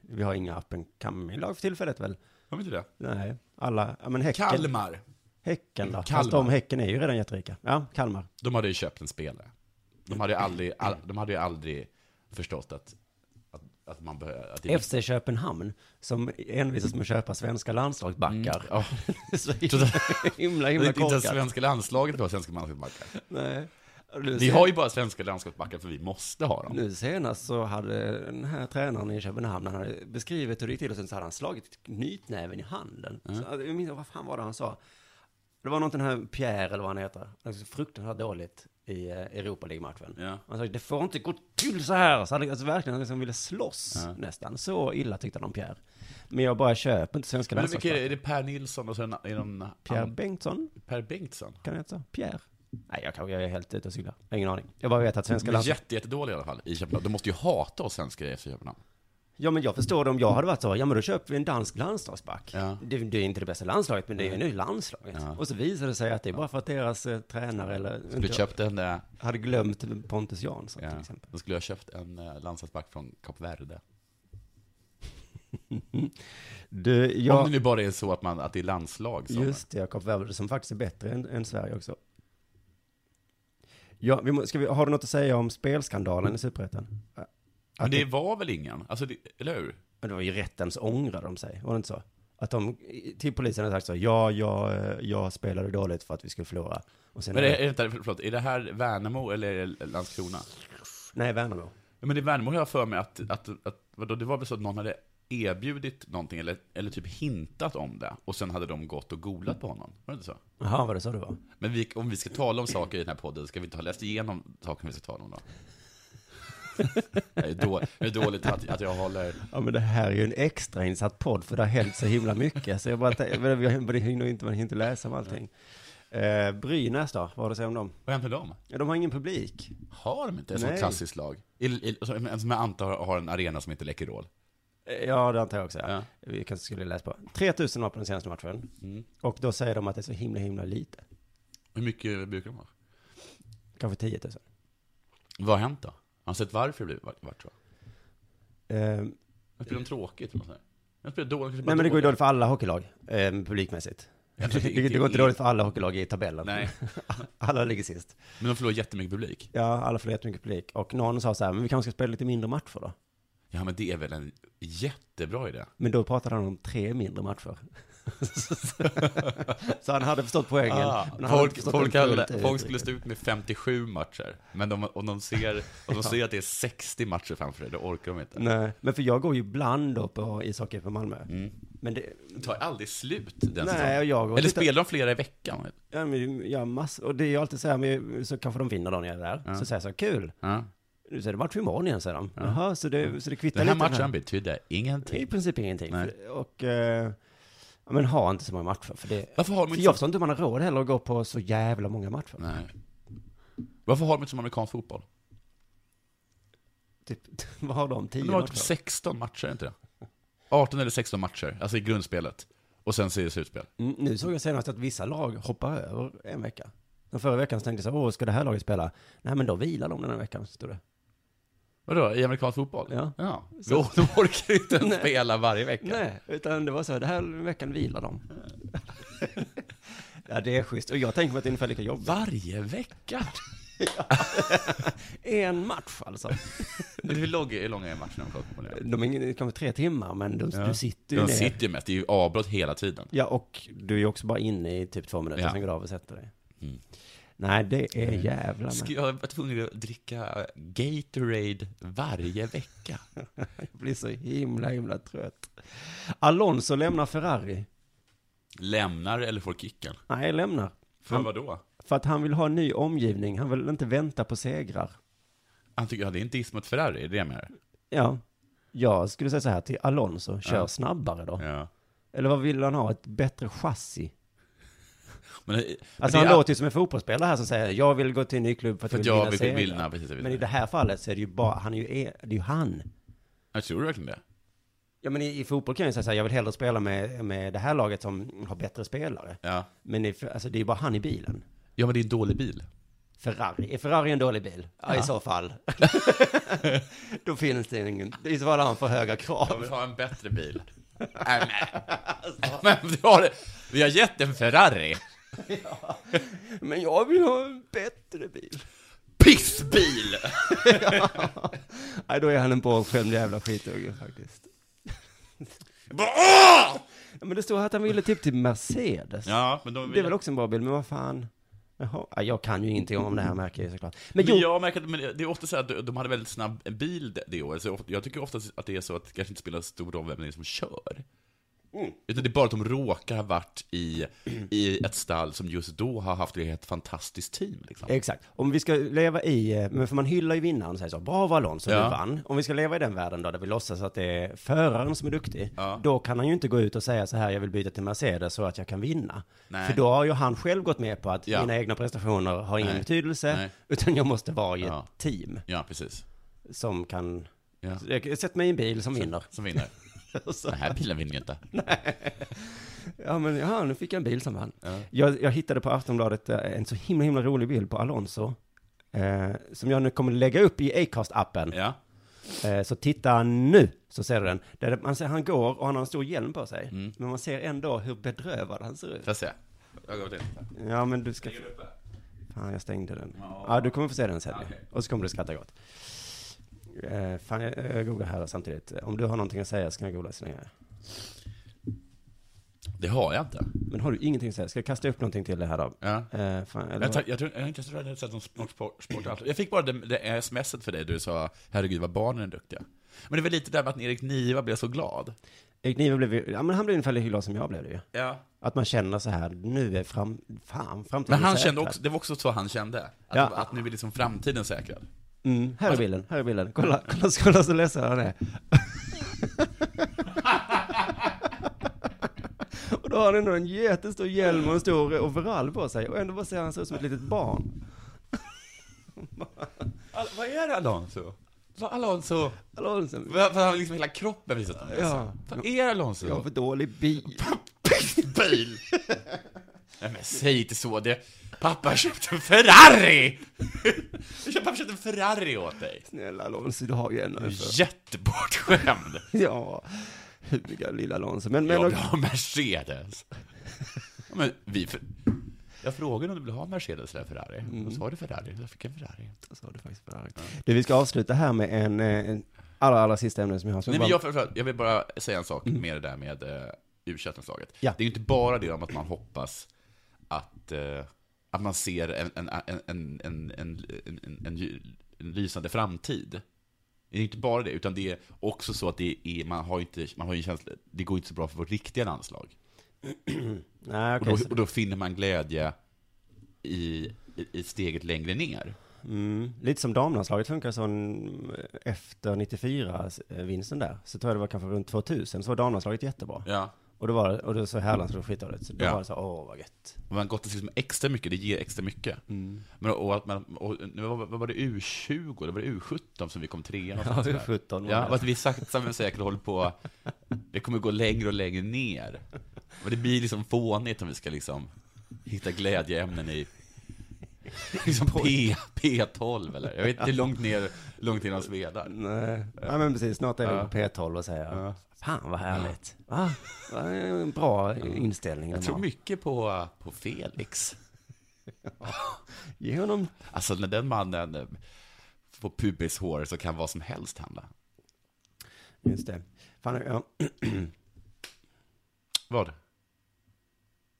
[SPEAKER 6] Vi har inga up and coming-lag för tillfället väl?
[SPEAKER 7] Har vi inte det?
[SPEAKER 6] Nej, alla... Ja, men Häcken.
[SPEAKER 7] Kalmar.
[SPEAKER 6] Häcken då. Fast
[SPEAKER 7] Kalmar.
[SPEAKER 6] de Häcken är ju redan jätterika. Ja, Kalmar.
[SPEAKER 7] De hade ju köpt en spelare. De hade ju aldrig, all, de hade ju aldrig förstått att, att, att man behöver... Att
[SPEAKER 6] FC Köpenhamn, som envisas med att köpa svenska landslagsbackar.
[SPEAKER 7] Mm, ja.
[SPEAKER 6] <laughs> Så himla, himla, himla
[SPEAKER 7] Inte ens
[SPEAKER 6] korkat.
[SPEAKER 7] svenska landslaget har svenska landslagsbackar.
[SPEAKER 6] Nej.
[SPEAKER 7] Vi har ju bara svenska landslagsbackar för vi måste ha dem.
[SPEAKER 6] Nu senast så hade den här tränaren i Köpenhamn, han hade beskrivit hur det gick till och sen så hade han slagit knytnäven i handen.
[SPEAKER 7] Mm.
[SPEAKER 6] Så, alltså, jag minns, vad fan var det han sa? Det var någonting här, Pierre eller vad han heter, han är så fruktansvärt dåligt i eh, Europa League-matchen.
[SPEAKER 7] Ja.
[SPEAKER 6] Han sa det får inte gå till så här. Så han alltså, verkligen liksom ville slåss nästan. Så illa tyckte han om Pierre. Men jag bara köper inte svenska
[SPEAKER 7] Men hur mycket är,
[SPEAKER 6] landslagsbackar.
[SPEAKER 7] det, är det Per Nilsson och sen är någon...
[SPEAKER 6] Pierre Bengtsson?
[SPEAKER 7] Per Bengtsson?
[SPEAKER 6] Kan det heta så? Pierre? Nej, jag, kan, jag är helt ute och cyklar. Jag har ingen aning. Jag bara vet att svenska
[SPEAKER 7] De är
[SPEAKER 6] landslaget...
[SPEAKER 7] jätte, jättedåliga i alla fall i Köpenhamn. De måste ju hata oss svenskar i FC Köpenhamn.
[SPEAKER 6] Ja men jag förstår det om jag hade varit så, ja men då köper vi en dansk landslagsback. Det, det är inte det bästa landslaget, men det är ju nu landslaget. Och så visar det sig att det är bara för att deras eh, tränare eller...
[SPEAKER 7] Skulle köpt en... eh,
[SPEAKER 6] Hade glömt Pontus Jansson
[SPEAKER 7] ja,
[SPEAKER 6] till exempel.
[SPEAKER 7] De skulle ha köpt en eh, landslagsback från Kap Verde.
[SPEAKER 6] Du, jag-
[SPEAKER 7] Om det nu bara är så att, man, att det är landslag som...
[SPEAKER 6] Just det, Jakob Verde som faktiskt är bättre än, än Sverige också. Ja, vi må, ska vi, har du något att säga om spelskandalen i Superettan? Att
[SPEAKER 7] Men det var väl ingen? Alltså, det, eller hur?
[SPEAKER 6] Men det var ju rättens ångrade de sig, var det inte så? Att de till polisen hade sagt så, ja, jag, eh, jag spelade dåligt för att vi skulle förlora. Och sen
[SPEAKER 7] Men är, är, det, förlåt, är det här Värnamo eller är det Landskrona?
[SPEAKER 6] Nej, Värnamo.
[SPEAKER 7] Ja, Men i Värnamo har jag för mig att, att, att vadå, det var väl så att någon hade erbjudit någonting eller, eller typ hintat om det och sen hade de gått och golat på honom. Var det inte så?
[SPEAKER 6] Jaha, var det så det var?
[SPEAKER 7] Men vi, om vi ska tala om saker i den här podden, ska vi inte ha läst igenom sakerna vi ska tala om då? det, är då, det är dåligt att, att jag håller...
[SPEAKER 6] Ja men det här är ju en extrainsatt podd för det har hänt så himla mycket. Så jag bara tänkte, men vi vi hinner inte, man hinner inte läsa om allting. Eh, Brynäs då, vad har du att säga om dem?
[SPEAKER 7] Vad händer med dem?
[SPEAKER 6] Ja, de har ingen publik.
[SPEAKER 7] Har de inte ett sånt
[SPEAKER 6] Nej.
[SPEAKER 7] klassiskt lag? I, i, alltså, som som jag antar har en arena som heter Läkerol.
[SPEAKER 6] Eh, Ja, det antar jag också. Ja. Vi kanske skulle läsa på. 3000 var på den senaste matchen.
[SPEAKER 7] Mm.
[SPEAKER 6] Och då säger de att det är så himla, himla lite.
[SPEAKER 7] Hur mycket brukar de ha?
[SPEAKER 6] Kanske 10 000.
[SPEAKER 7] Vad har hänt då? Har ni sett varför det blev vart, vart så?
[SPEAKER 6] Eh,
[SPEAKER 7] typ, De spelar de tråkigt? eller nåt sånt där? De spelar dåligt. kanske bara
[SPEAKER 6] Nej men det går ju
[SPEAKER 7] dåligt.
[SPEAKER 6] dåligt för alla hockeylag, eh, publikmässigt. <laughs>
[SPEAKER 7] Jag
[SPEAKER 6] Det,
[SPEAKER 7] tror att
[SPEAKER 6] det, går inte dåligt för alla hockeylag i tabellen.
[SPEAKER 7] Nej.
[SPEAKER 6] alla ligger sist.
[SPEAKER 7] Men de förlorar jättemycket publik.
[SPEAKER 6] Ja, alla förlorar jättemycket publik. Och någon sa så här, men vi kanske ska spela lite mindre matcher då?
[SPEAKER 7] Ja, men det är väl en jättebra idé.
[SPEAKER 6] Men då pratade han om tre mindre matcher. <laughs> så han hade förstått poängen.
[SPEAKER 7] Ah,
[SPEAKER 6] men han hade inte
[SPEAKER 7] folk,
[SPEAKER 6] förstått
[SPEAKER 7] folk,
[SPEAKER 6] den
[SPEAKER 7] hade,
[SPEAKER 6] fullt ut.
[SPEAKER 7] folk skulle stå ut med 57 matcher, men de, om, de ser, om de
[SPEAKER 6] Ja.
[SPEAKER 7] ser att det är 60 matcher framför dig, då orkar de inte.
[SPEAKER 6] Nej, men för jag går ju ibland då på ishockey på Malmö. Men det...
[SPEAKER 7] Det tar aldrig slut Mm. den
[SPEAKER 6] Nej,
[SPEAKER 7] säsongen.
[SPEAKER 6] och jag och
[SPEAKER 7] Eller
[SPEAKER 6] tittar-
[SPEAKER 7] spelar de flera i veckan?
[SPEAKER 6] Ja, men, ja, massor. Och det är ju alltid så här, men, så kanske de vinner då när jag är där. Så säger jag så här, kul. Nu så är det match imorgon igen, säger de. Jaha, så det, så det kvittar
[SPEAKER 7] Den här
[SPEAKER 6] lite.
[SPEAKER 7] matchen betyder ingenting.
[SPEAKER 6] I princip ingenting.
[SPEAKER 7] Nej.
[SPEAKER 6] För- Och, eh, ja, men ha inte så många matcher. För, det,
[SPEAKER 7] Varför har de
[SPEAKER 6] för
[SPEAKER 7] inte
[SPEAKER 6] jag
[SPEAKER 7] så-
[SPEAKER 6] förstår inte hur man har råd heller att gå på så jävla många matcher.
[SPEAKER 7] Nej. Varför har de inte som amerikansk fotboll?
[SPEAKER 6] Typ, vad har de? Tio
[SPEAKER 7] Men de har
[SPEAKER 6] matcher?
[SPEAKER 7] typ 16 matcher, inte det? 18 eller 16 matcher, alltså i grundspelet. Och sen så är det slutspel.
[SPEAKER 6] Mm, nu såg jag senast att vissa lag hoppar över en vecka. Den förra veckan så tänkte jag så här, åh, ska det här laget spela? Nej, men då vilar de den här veckan, stod det.
[SPEAKER 7] Vadå, i amerikansk fotboll?
[SPEAKER 6] Ja.
[SPEAKER 7] ja.
[SPEAKER 6] Så-
[SPEAKER 7] Då, de orkar inte
[SPEAKER 6] <laughs>
[SPEAKER 7] ens
[SPEAKER 6] Nej.
[SPEAKER 7] spela varje vecka.
[SPEAKER 6] Nej, utan det var så, här, den här veckan vilar de. <laughs> ja, det är schysst. Och jag tänker mig att det är ungefär lika jobbigt.
[SPEAKER 7] Varje vecka?
[SPEAKER 6] en match alltså.
[SPEAKER 7] Hur lång är- hur långa är matcherna i amerikansk fotboll?
[SPEAKER 6] De är det kan vara tre timmar, men de,
[SPEAKER 7] Ja.
[SPEAKER 6] du sitter ju
[SPEAKER 7] De
[SPEAKER 6] ner.
[SPEAKER 7] sitter ju mest, det är ju avbrott hela tiden.
[SPEAKER 6] Ja, och du är ju också bara inne i typ två minuter,
[SPEAKER 7] Ja. Mm.
[SPEAKER 6] sen går du av och sätter dig. Nej, det är jävla
[SPEAKER 7] Ska
[SPEAKER 6] med.
[SPEAKER 7] jag vara tvungen att dricka Gatorade varje vecka?
[SPEAKER 6] Jag blir så himla, himla trött. Alonso lämnar Ferrari.
[SPEAKER 7] Lämnar eller får kicken?
[SPEAKER 6] Nej, lämnar.
[SPEAKER 7] För vad då?
[SPEAKER 6] För att han vill ha en ny omgivning. Han vill inte vänta på segrar.
[SPEAKER 7] Han tycker, ja, det är en diss mot Ferrari, det är det jag menar.
[SPEAKER 6] Ja. Jag skulle säga så här till Alonso, kör
[SPEAKER 7] Ja.
[SPEAKER 6] snabbare då.
[SPEAKER 7] Ja.
[SPEAKER 6] Eller vad vill han ha? Ett bättre chassi?
[SPEAKER 7] Men,
[SPEAKER 6] Alltså han låter ju som en fotbollsspelare här som säger jag vill gå till en ny klubb för att
[SPEAKER 7] För
[SPEAKER 6] jag
[SPEAKER 7] att
[SPEAKER 6] vill
[SPEAKER 7] jag
[SPEAKER 6] vinna
[SPEAKER 7] vill
[SPEAKER 6] segrar.
[SPEAKER 7] vinna, precis, precis.
[SPEAKER 6] Men i det här fallet så är det ju bara, han är ju, e- det är ju han.
[SPEAKER 7] Jag tror verkligen det.
[SPEAKER 6] Ja men i, i fotboll kan jag ju säga så här, jag vill hellre spela med, med det här laget som har bättre spelare.
[SPEAKER 7] Ja.
[SPEAKER 6] Men i, alltså, det är ju bara han i bilen.
[SPEAKER 7] Ja, men det är en dålig bil.
[SPEAKER 6] Ferrari, är Ferrari en dålig bil? Ja, i
[SPEAKER 7] Ja.
[SPEAKER 6] så
[SPEAKER 7] <laughs>
[SPEAKER 6] fall. <laughs> Då finns det ingen, i så fall har han för höga
[SPEAKER 7] Jag vill
[SPEAKER 6] krav.
[SPEAKER 7] ha en bättre <laughs> bil. Äh, Nej, <laughs> men, men du har, vi har gett en Ferrari.
[SPEAKER 6] Men jag vill ha en bättre bil.
[SPEAKER 7] <laughs> Pissbil!
[SPEAKER 6] Nej, då är han en bortskämd jävla skitunge faktiskt. Ja, men det stod här att han ville typ till Mercedes.
[SPEAKER 7] Ja, men de
[SPEAKER 6] Det är väl också en bra bil, men vad fan. Jaha, ja, jag kan ju ingenting om det här märker jag ju såklart. Men
[SPEAKER 7] Men
[SPEAKER 6] jo,
[SPEAKER 7] jag märker att men det är ofta så här att de hade väldigt snabb bil det- det året, så ofta- jag tycker ofta att det är så att det kanske inte spelar stor roll vem det är som kör. Utan det är bara att de råkar ha varit i, i ett stall som just då har haft ett fantastiskt team. Liksom.
[SPEAKER 6] exakt. Om vi ska leva i, eh, men för man hyllar ju vinnaren och säger så, bra var Alonso,
[SPEAKER 7] Ja.
[SPEAKER 6] du vann. Om vi ska leva i den världen då, där vi låtsas att det är föraren som är duktig, då kan han ju inte gå ut och säga så här, jag vill byta till Mercedes så att jag kan vinna.
[SPEAKER 7] Nej.
[SPEAKER 6] För då har ju han själv gått med på att
[SPEAKER 7] Ja.
[SPEAKER 6] mina egna prestationer har ingen
[SPEAKER 7] Nej.
[SPEAKER 6] betydelse,
[SPEAKER 7] Nej.
[SPEAKER 6] utan jag måste vara i ett
[SPEAKER 7] Ja.
[SPEAKER 6] team
[SPEAKER 7] Ja, precis.
[SPEAKER 6] som kan,
[SPEAKER 7] Ja.
[SPEAKER 6] Jag- sätt mig i en bil som <laughs> vinner.
[SPEAKER 7] Som vinner.
[SPEAKER 6] Så-
[SPEAKER 7] Den här bilen vinner ju inte.
[SPEAKER 6] Ja, men ja, nu fick jag en bil som vann. Jag, jag hittade på Aftonbladet eh, en så himla, himla rolig bild på Alonso. Eh, som jag nu kommer lägga upp i Acast-appen.
[SPEAKER 7] Ja.
[SPEAKER 6] Eh, så titta nu, så ser du den. Där man ser han går och han har en stor hjälm på sig. Men man ser ändå hur bedrövad han ser ut.
[SPEAKER 7] Får jag se? Jag går till.
[SPEAKER 6] Ja, men du ska... Fan, jag stängde den. Ja, du kommer få se den sen. Och så kommer du skratta gott. Eh, fan, jag, jag googlar här samtidigt. Om du har någonting att säga så kan jag googla så länge.
[SPEAKER 7] Det har jag inte.
[SPEAKER 6] Men har du ingenting att säga? Ska jag kasta upp någonting till det här då?
[SPEAKER 7] Ja.
[SPEAKER 6] Eh, fan, eller
[SPEAKER 7] Jag, tror- jag, tror, jag, jag tror jag hade sett någon sport, sport, sport alls. Jag fick bara det, det smset för dig där du sa herregud vad barnen är duktiga. Men det var lite där med att Erik Niva blev så glad.
[SPEAKER 6] Erik Niva blev ju, ja men han blev ungefär lika glad som jag blev det ju.
[SPEAKER 7] Ja.
[SPEAKER 6] Att man känner så här, nu är fram, fan, framtiden
[SPEAKER 7] Men han
[SPEAKER 6] säkrad.
[SPEAKER 7] kände också, det var också så han kände. Att,
[SPEAKER 6] Ja.
[SPEAKER 7] att nu är liksom framtiden säkrad.
[SPEAKER 6] Mm,
[SPEAKER 7] Alltså-
[SPEAKER 6] här är bilden, här är bilden. Kolla, kolla, kolla så ledsen han är. <laughs> och då har han ändå en jättestor hjälm och en stor overall på sig. Och ändå bara ser han så ut som ett litet barn.
[SPEAKER 7] All, vad är det Alonso? Vad Alonso?
[SPEAKER 6] Alonso,
[SPEAKER 7] För, för han liksom hela kroppen visat han
[SPEAKER 6] Ja.
[SPEAKER 7] Vad är det Alonso?
[SPEAKER 6] jag har för dålig bil.
[SPEAKER 7] Bil! <laughs> Nej men säg inte så, det... Pappa har köpt en Ferrari! Pappa har köpt en Ferrari åt dig!
[SPEAKER 6] Snälla Alonso, du har ju en.
[SPEAKER 7] Du är
[SPEAKER 6] alltså.
[SPEAKER 7] Jättebortskämd!
[SPEAKER 6] Ja, huvudiga lilla Alonso. Men, men,
[SPEAKER 7] jag vill ha Mercedes. Men vi... För... Jag frågade om du ville ha en Mercedes eller Ferrari. Då sa du Ferrari. Då fick jag en Ferrari.
[SPEAKER 6] Då sa du faktiskt Ferrari. Du, vi ska avsluta här med en, eh, en allra, allra sista ämne som jag har. Så
[SPEAKER 7] Nej,
[SPEAKER 6] bara- Mm.
[SPEAKER 7] men jag, förlåt, jag vill bara säga en sak med det där med uh, u laget Det är ju inte bara det om att man hoppas att, eh, att man ser en, en, en, en, en, en, en, en, en, ly- en lysande framtid. Det är inte bara det, utan det är också så att det är, man har ju inte, man har ju en känsla, det går inte så bra för vårt riktiga landslag.
[SPEAKER 6] Nej, okej,
[SPEAKER 7] och,
[SPEAKER 6] så-
[SPEAKER 7] då, och då finner man glädje i, i, i steget längre ner.
[SPEAKER 6] Mm. Lite som damlandslaget funkar som efter 94-vinsten där, så tror jag det var kanske runt 2000, så var damlandslaget jättebra.
[SPEAKER 7] Ja.
[SPEAKER 6] Och då var det, och då så herrlandslaget skitdåligt, så då
[SPEAKER 7] Ja.
[SPEAKER 6] var det så åh vad gött.
[SPEAKER 7] Och man gottar sig liksom extra mycket, det ger extra mycket. Men, och att man, och, nu var, vad var det U20, eller var det U17 som vi kom trea?
[SPEAKER 6] Ja, U17 var det.
[SPEAKER 7] Ja, och att vi sakta men säkert håller på, vi kommer gå längre och längre ner. Och det blir liksom fånigt om vi ska liksom hitta glädjeämnen i liksom P, P12 eller, jag vet inte hur långt ner, långt ner de svedar.
[SPEAKER 6] Nej. Eh, Ja men precis, snart är vi
[SPEAKER 7] Ja.
[SPEAKER 6] på P12 och säger, fan vad härligt. Va? Va? En bra inställning
[SPEAKER 7] Jag
[SPEAKER 6] de
[SPEAKER 7] tror
[SPEAKER 6] har.
[SPEAKER 7] mycket på, på Felix.
[SPEAKER 6] Ge honom...
[SPEAKER 7] Alltså när den mannen eh, får pubishår så kan vad som helst hända.
[SPEAKER 6] Just det. Fan, ja.
[SPEAKER 7] Vad?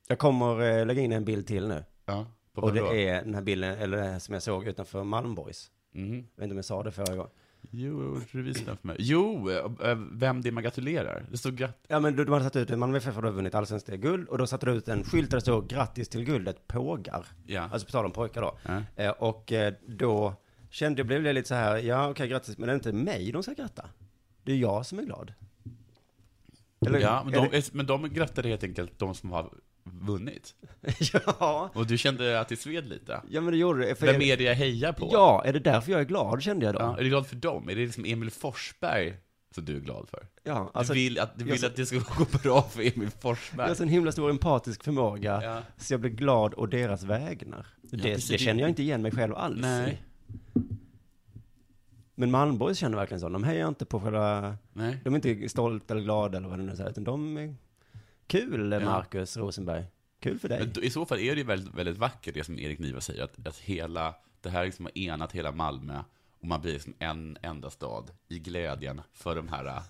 [SPEAKER 6] Jag kommer eh, lägga in en bild till nu.
[SPEAKER 7] Ja, på
[SPEAKER 6] och
[SPEAKER 7] vad
[SPEAKER 6] det
[SPEAKER 7] då?
[SPEAKER 6] är den här bilden, eller den här som jag såg utanför Malmborgs.
[SPEAKER 7] Mm.
[SPEAKER 6] Jag vet inte om jag sa det förra gången.
[SPEAKER 7] Jo, du visade den för mig. Jo, eh, eh, vem det är man gratulerar. Det stod gratt...
[SPEAKER 6] Ja men du, de hade satt ut, Malmö FF hade vunnit allsvenskt guld och då satte du ut en skylt där det stod grattis till guldet pågar.
[SPEAKER 7] Ja.
[SPEAKER 6] Alltså på tal om pojkar då.
[SPEAKER 7] Ja.
[SPEAKER 6] Eh, och eh, då kände jag, blev jag lite så här, ja okej grattis, men det är inte mig de ska gratta. Det är jag som är glad. <laughs> Eller-
[SPEAKER 7] ja, men de,
[SPEAKER 6] är
[SPEAKER 7] men de grattade helt enkelt de som har vunnit.
[SPEAKER 6] ja.
[SPEAKER 7] Och du kände att det sved lite.
[SPEAKER 6] Ja men det gjorde det. för
[SPEAKER 7] Vem
[SPEAKER 6] jag-
[SPEAKER 7] är det jag hejar på?
[SPEAKER 6] Ja, är det därför jag är glad kände jag då.
[SPEAKER 7] Ja, är du glad för dem? Är det liksom Emil Forsberg som du är glad för?
[SPEAKER 6] Ja, alltså-
[SPEAKER 7] du vill, att, du
[SPEAKER 6] jag
[SPEAKER 7] vill
[SPEAKER 6] så-
[SPEAKER 7] att det ska <laughs> gå bra för Emil
[SPEAKER 6] Jag
[SPEAKER 7] Forsberg?
[SPEAKER 6] har så en himla stor empatisk förmåga,
[SPEAKER 7] Ja.
[SPEAKER 6] så jag blir glad å deras vägnar.
[SPEAKER 7] precis.
[SPEAKER 6] det, det känner jag inte igen mig själv alls
[SPEAKER 7] Nej.
[SPEAKER 6] i. Men Malmborgs känner verkligen så. De hejar inte på själva...
[SPEAKER 7] Nej.
[SPEAKER 6] De är inte stolta eller glada eller vad det nu är, så här, utan de är... Kul,
[SPEAKER 7] Ja.
[SPEAKER 6] Marcus Rosenberg. Kul för dig.
[SPEAKER 7] Men då, I så fall är det ju väldigt, väldigt vackert det som Erik Niva säger, att, att hela, det här liksom har enat hela Malmö och man blir liksom en enda stad i glädjen för de här äh,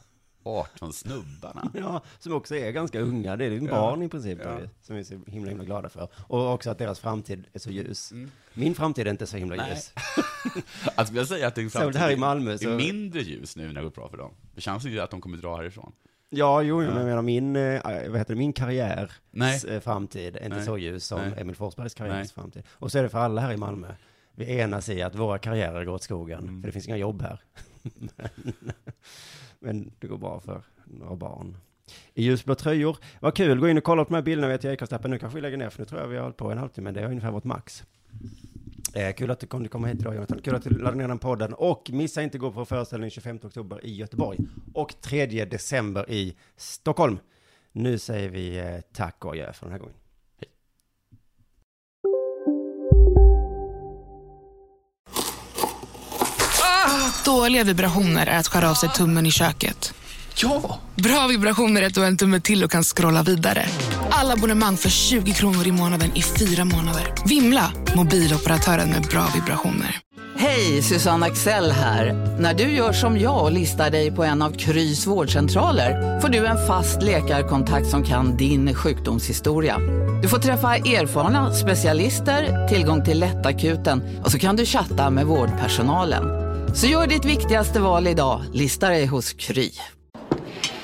[SPEAKER 6] <laughs>
[SPEAKER 7] 18 snubbarna.
[SPEAKER 6] <laughs> Ja, som också är ganska unga. Det är ju
[SPEAKER 7] Ja.
[SPEAKER 6] barn i princip,
[SPEAKER 7] Ja.
[SPEAKER 6] som vi är så himla, himla glada för. Och också att deras framtid är så ljus. Min framtid är inte så himla
[SPEAKER 7] Mm. Nej. <laughs>
[SPEAKER 6] ljus.
[SPEAKER 7] Att skulle Alltså, jag säga att det,
[SPEAKER 6] Särskilt här i Malmö, så-
[SPEAKER 7] är mindre ljus nu när det går bra för dem. För chansen är ju att de kommer dra härifrån.
[SPEAKER 6] Ja, jo,
[SPEAKER 7] Ja.
[SPEAKER 6] men jag menar min, eh, vad heter det, min karriär
[SPEAKER 7] Nej.
[SPEAKER 6] framtid är inte
[SPEAKER 7] Nej.
[SPEAKER 6] så ljus som
[SPEAKER 7] Nej.
[SPEAKER 6] Emil Forsbergs
[SPEAKER 7] Nej.
[SPEAKER 6] karriärs framtid. Och så är det för alla här i Malmö. Vi enas i att våra karriärer går åt skogen, för det finns inga jobb här. <laughs> men, men det går bra för några barn. I ljusblå tröjor. Vad kul, gå in och kolla på de här bilderna vet jag i Acast-appen. Nu kanske vi lägger ner, för nu tror jag vi har hållit på en halvtimme, men det är ungefär vårt max. Eh, kul att du kunde komma hit idag, Jonathan. Kul att du laddade ner den podden. Och missa inte att gå på föreställning 25 oktober i Göteborg och 3 december i Stockholm. Nu säger vi eh, tack och adjö för den här gången.
[SPEAKER 12] Dåliga vibrationer är att skära av sig tummen i köket.
[SPEAKER 4] Ja!
[SPEAKER 12] Bra vibrationer är att du har en tumme till och kan scrolla vidare. Alla abonnemang för 20 kronor i månaden i fyra månader. Vimla! Mobiloperatören med bra vibrationer.
[SPEAKER 13] Hej, Susanne Axel här. När du gör som jag och listar dig på en av Krys vårdcentraler får du en fast läkarkontakt som kan din sjukdomshistoria. Du får träffa erfarna specialister, tillgång till lättakuten och så kan du chatta med vårdpersonalen. Så gör ditt viktigaste val idag, listar dig hos Kry.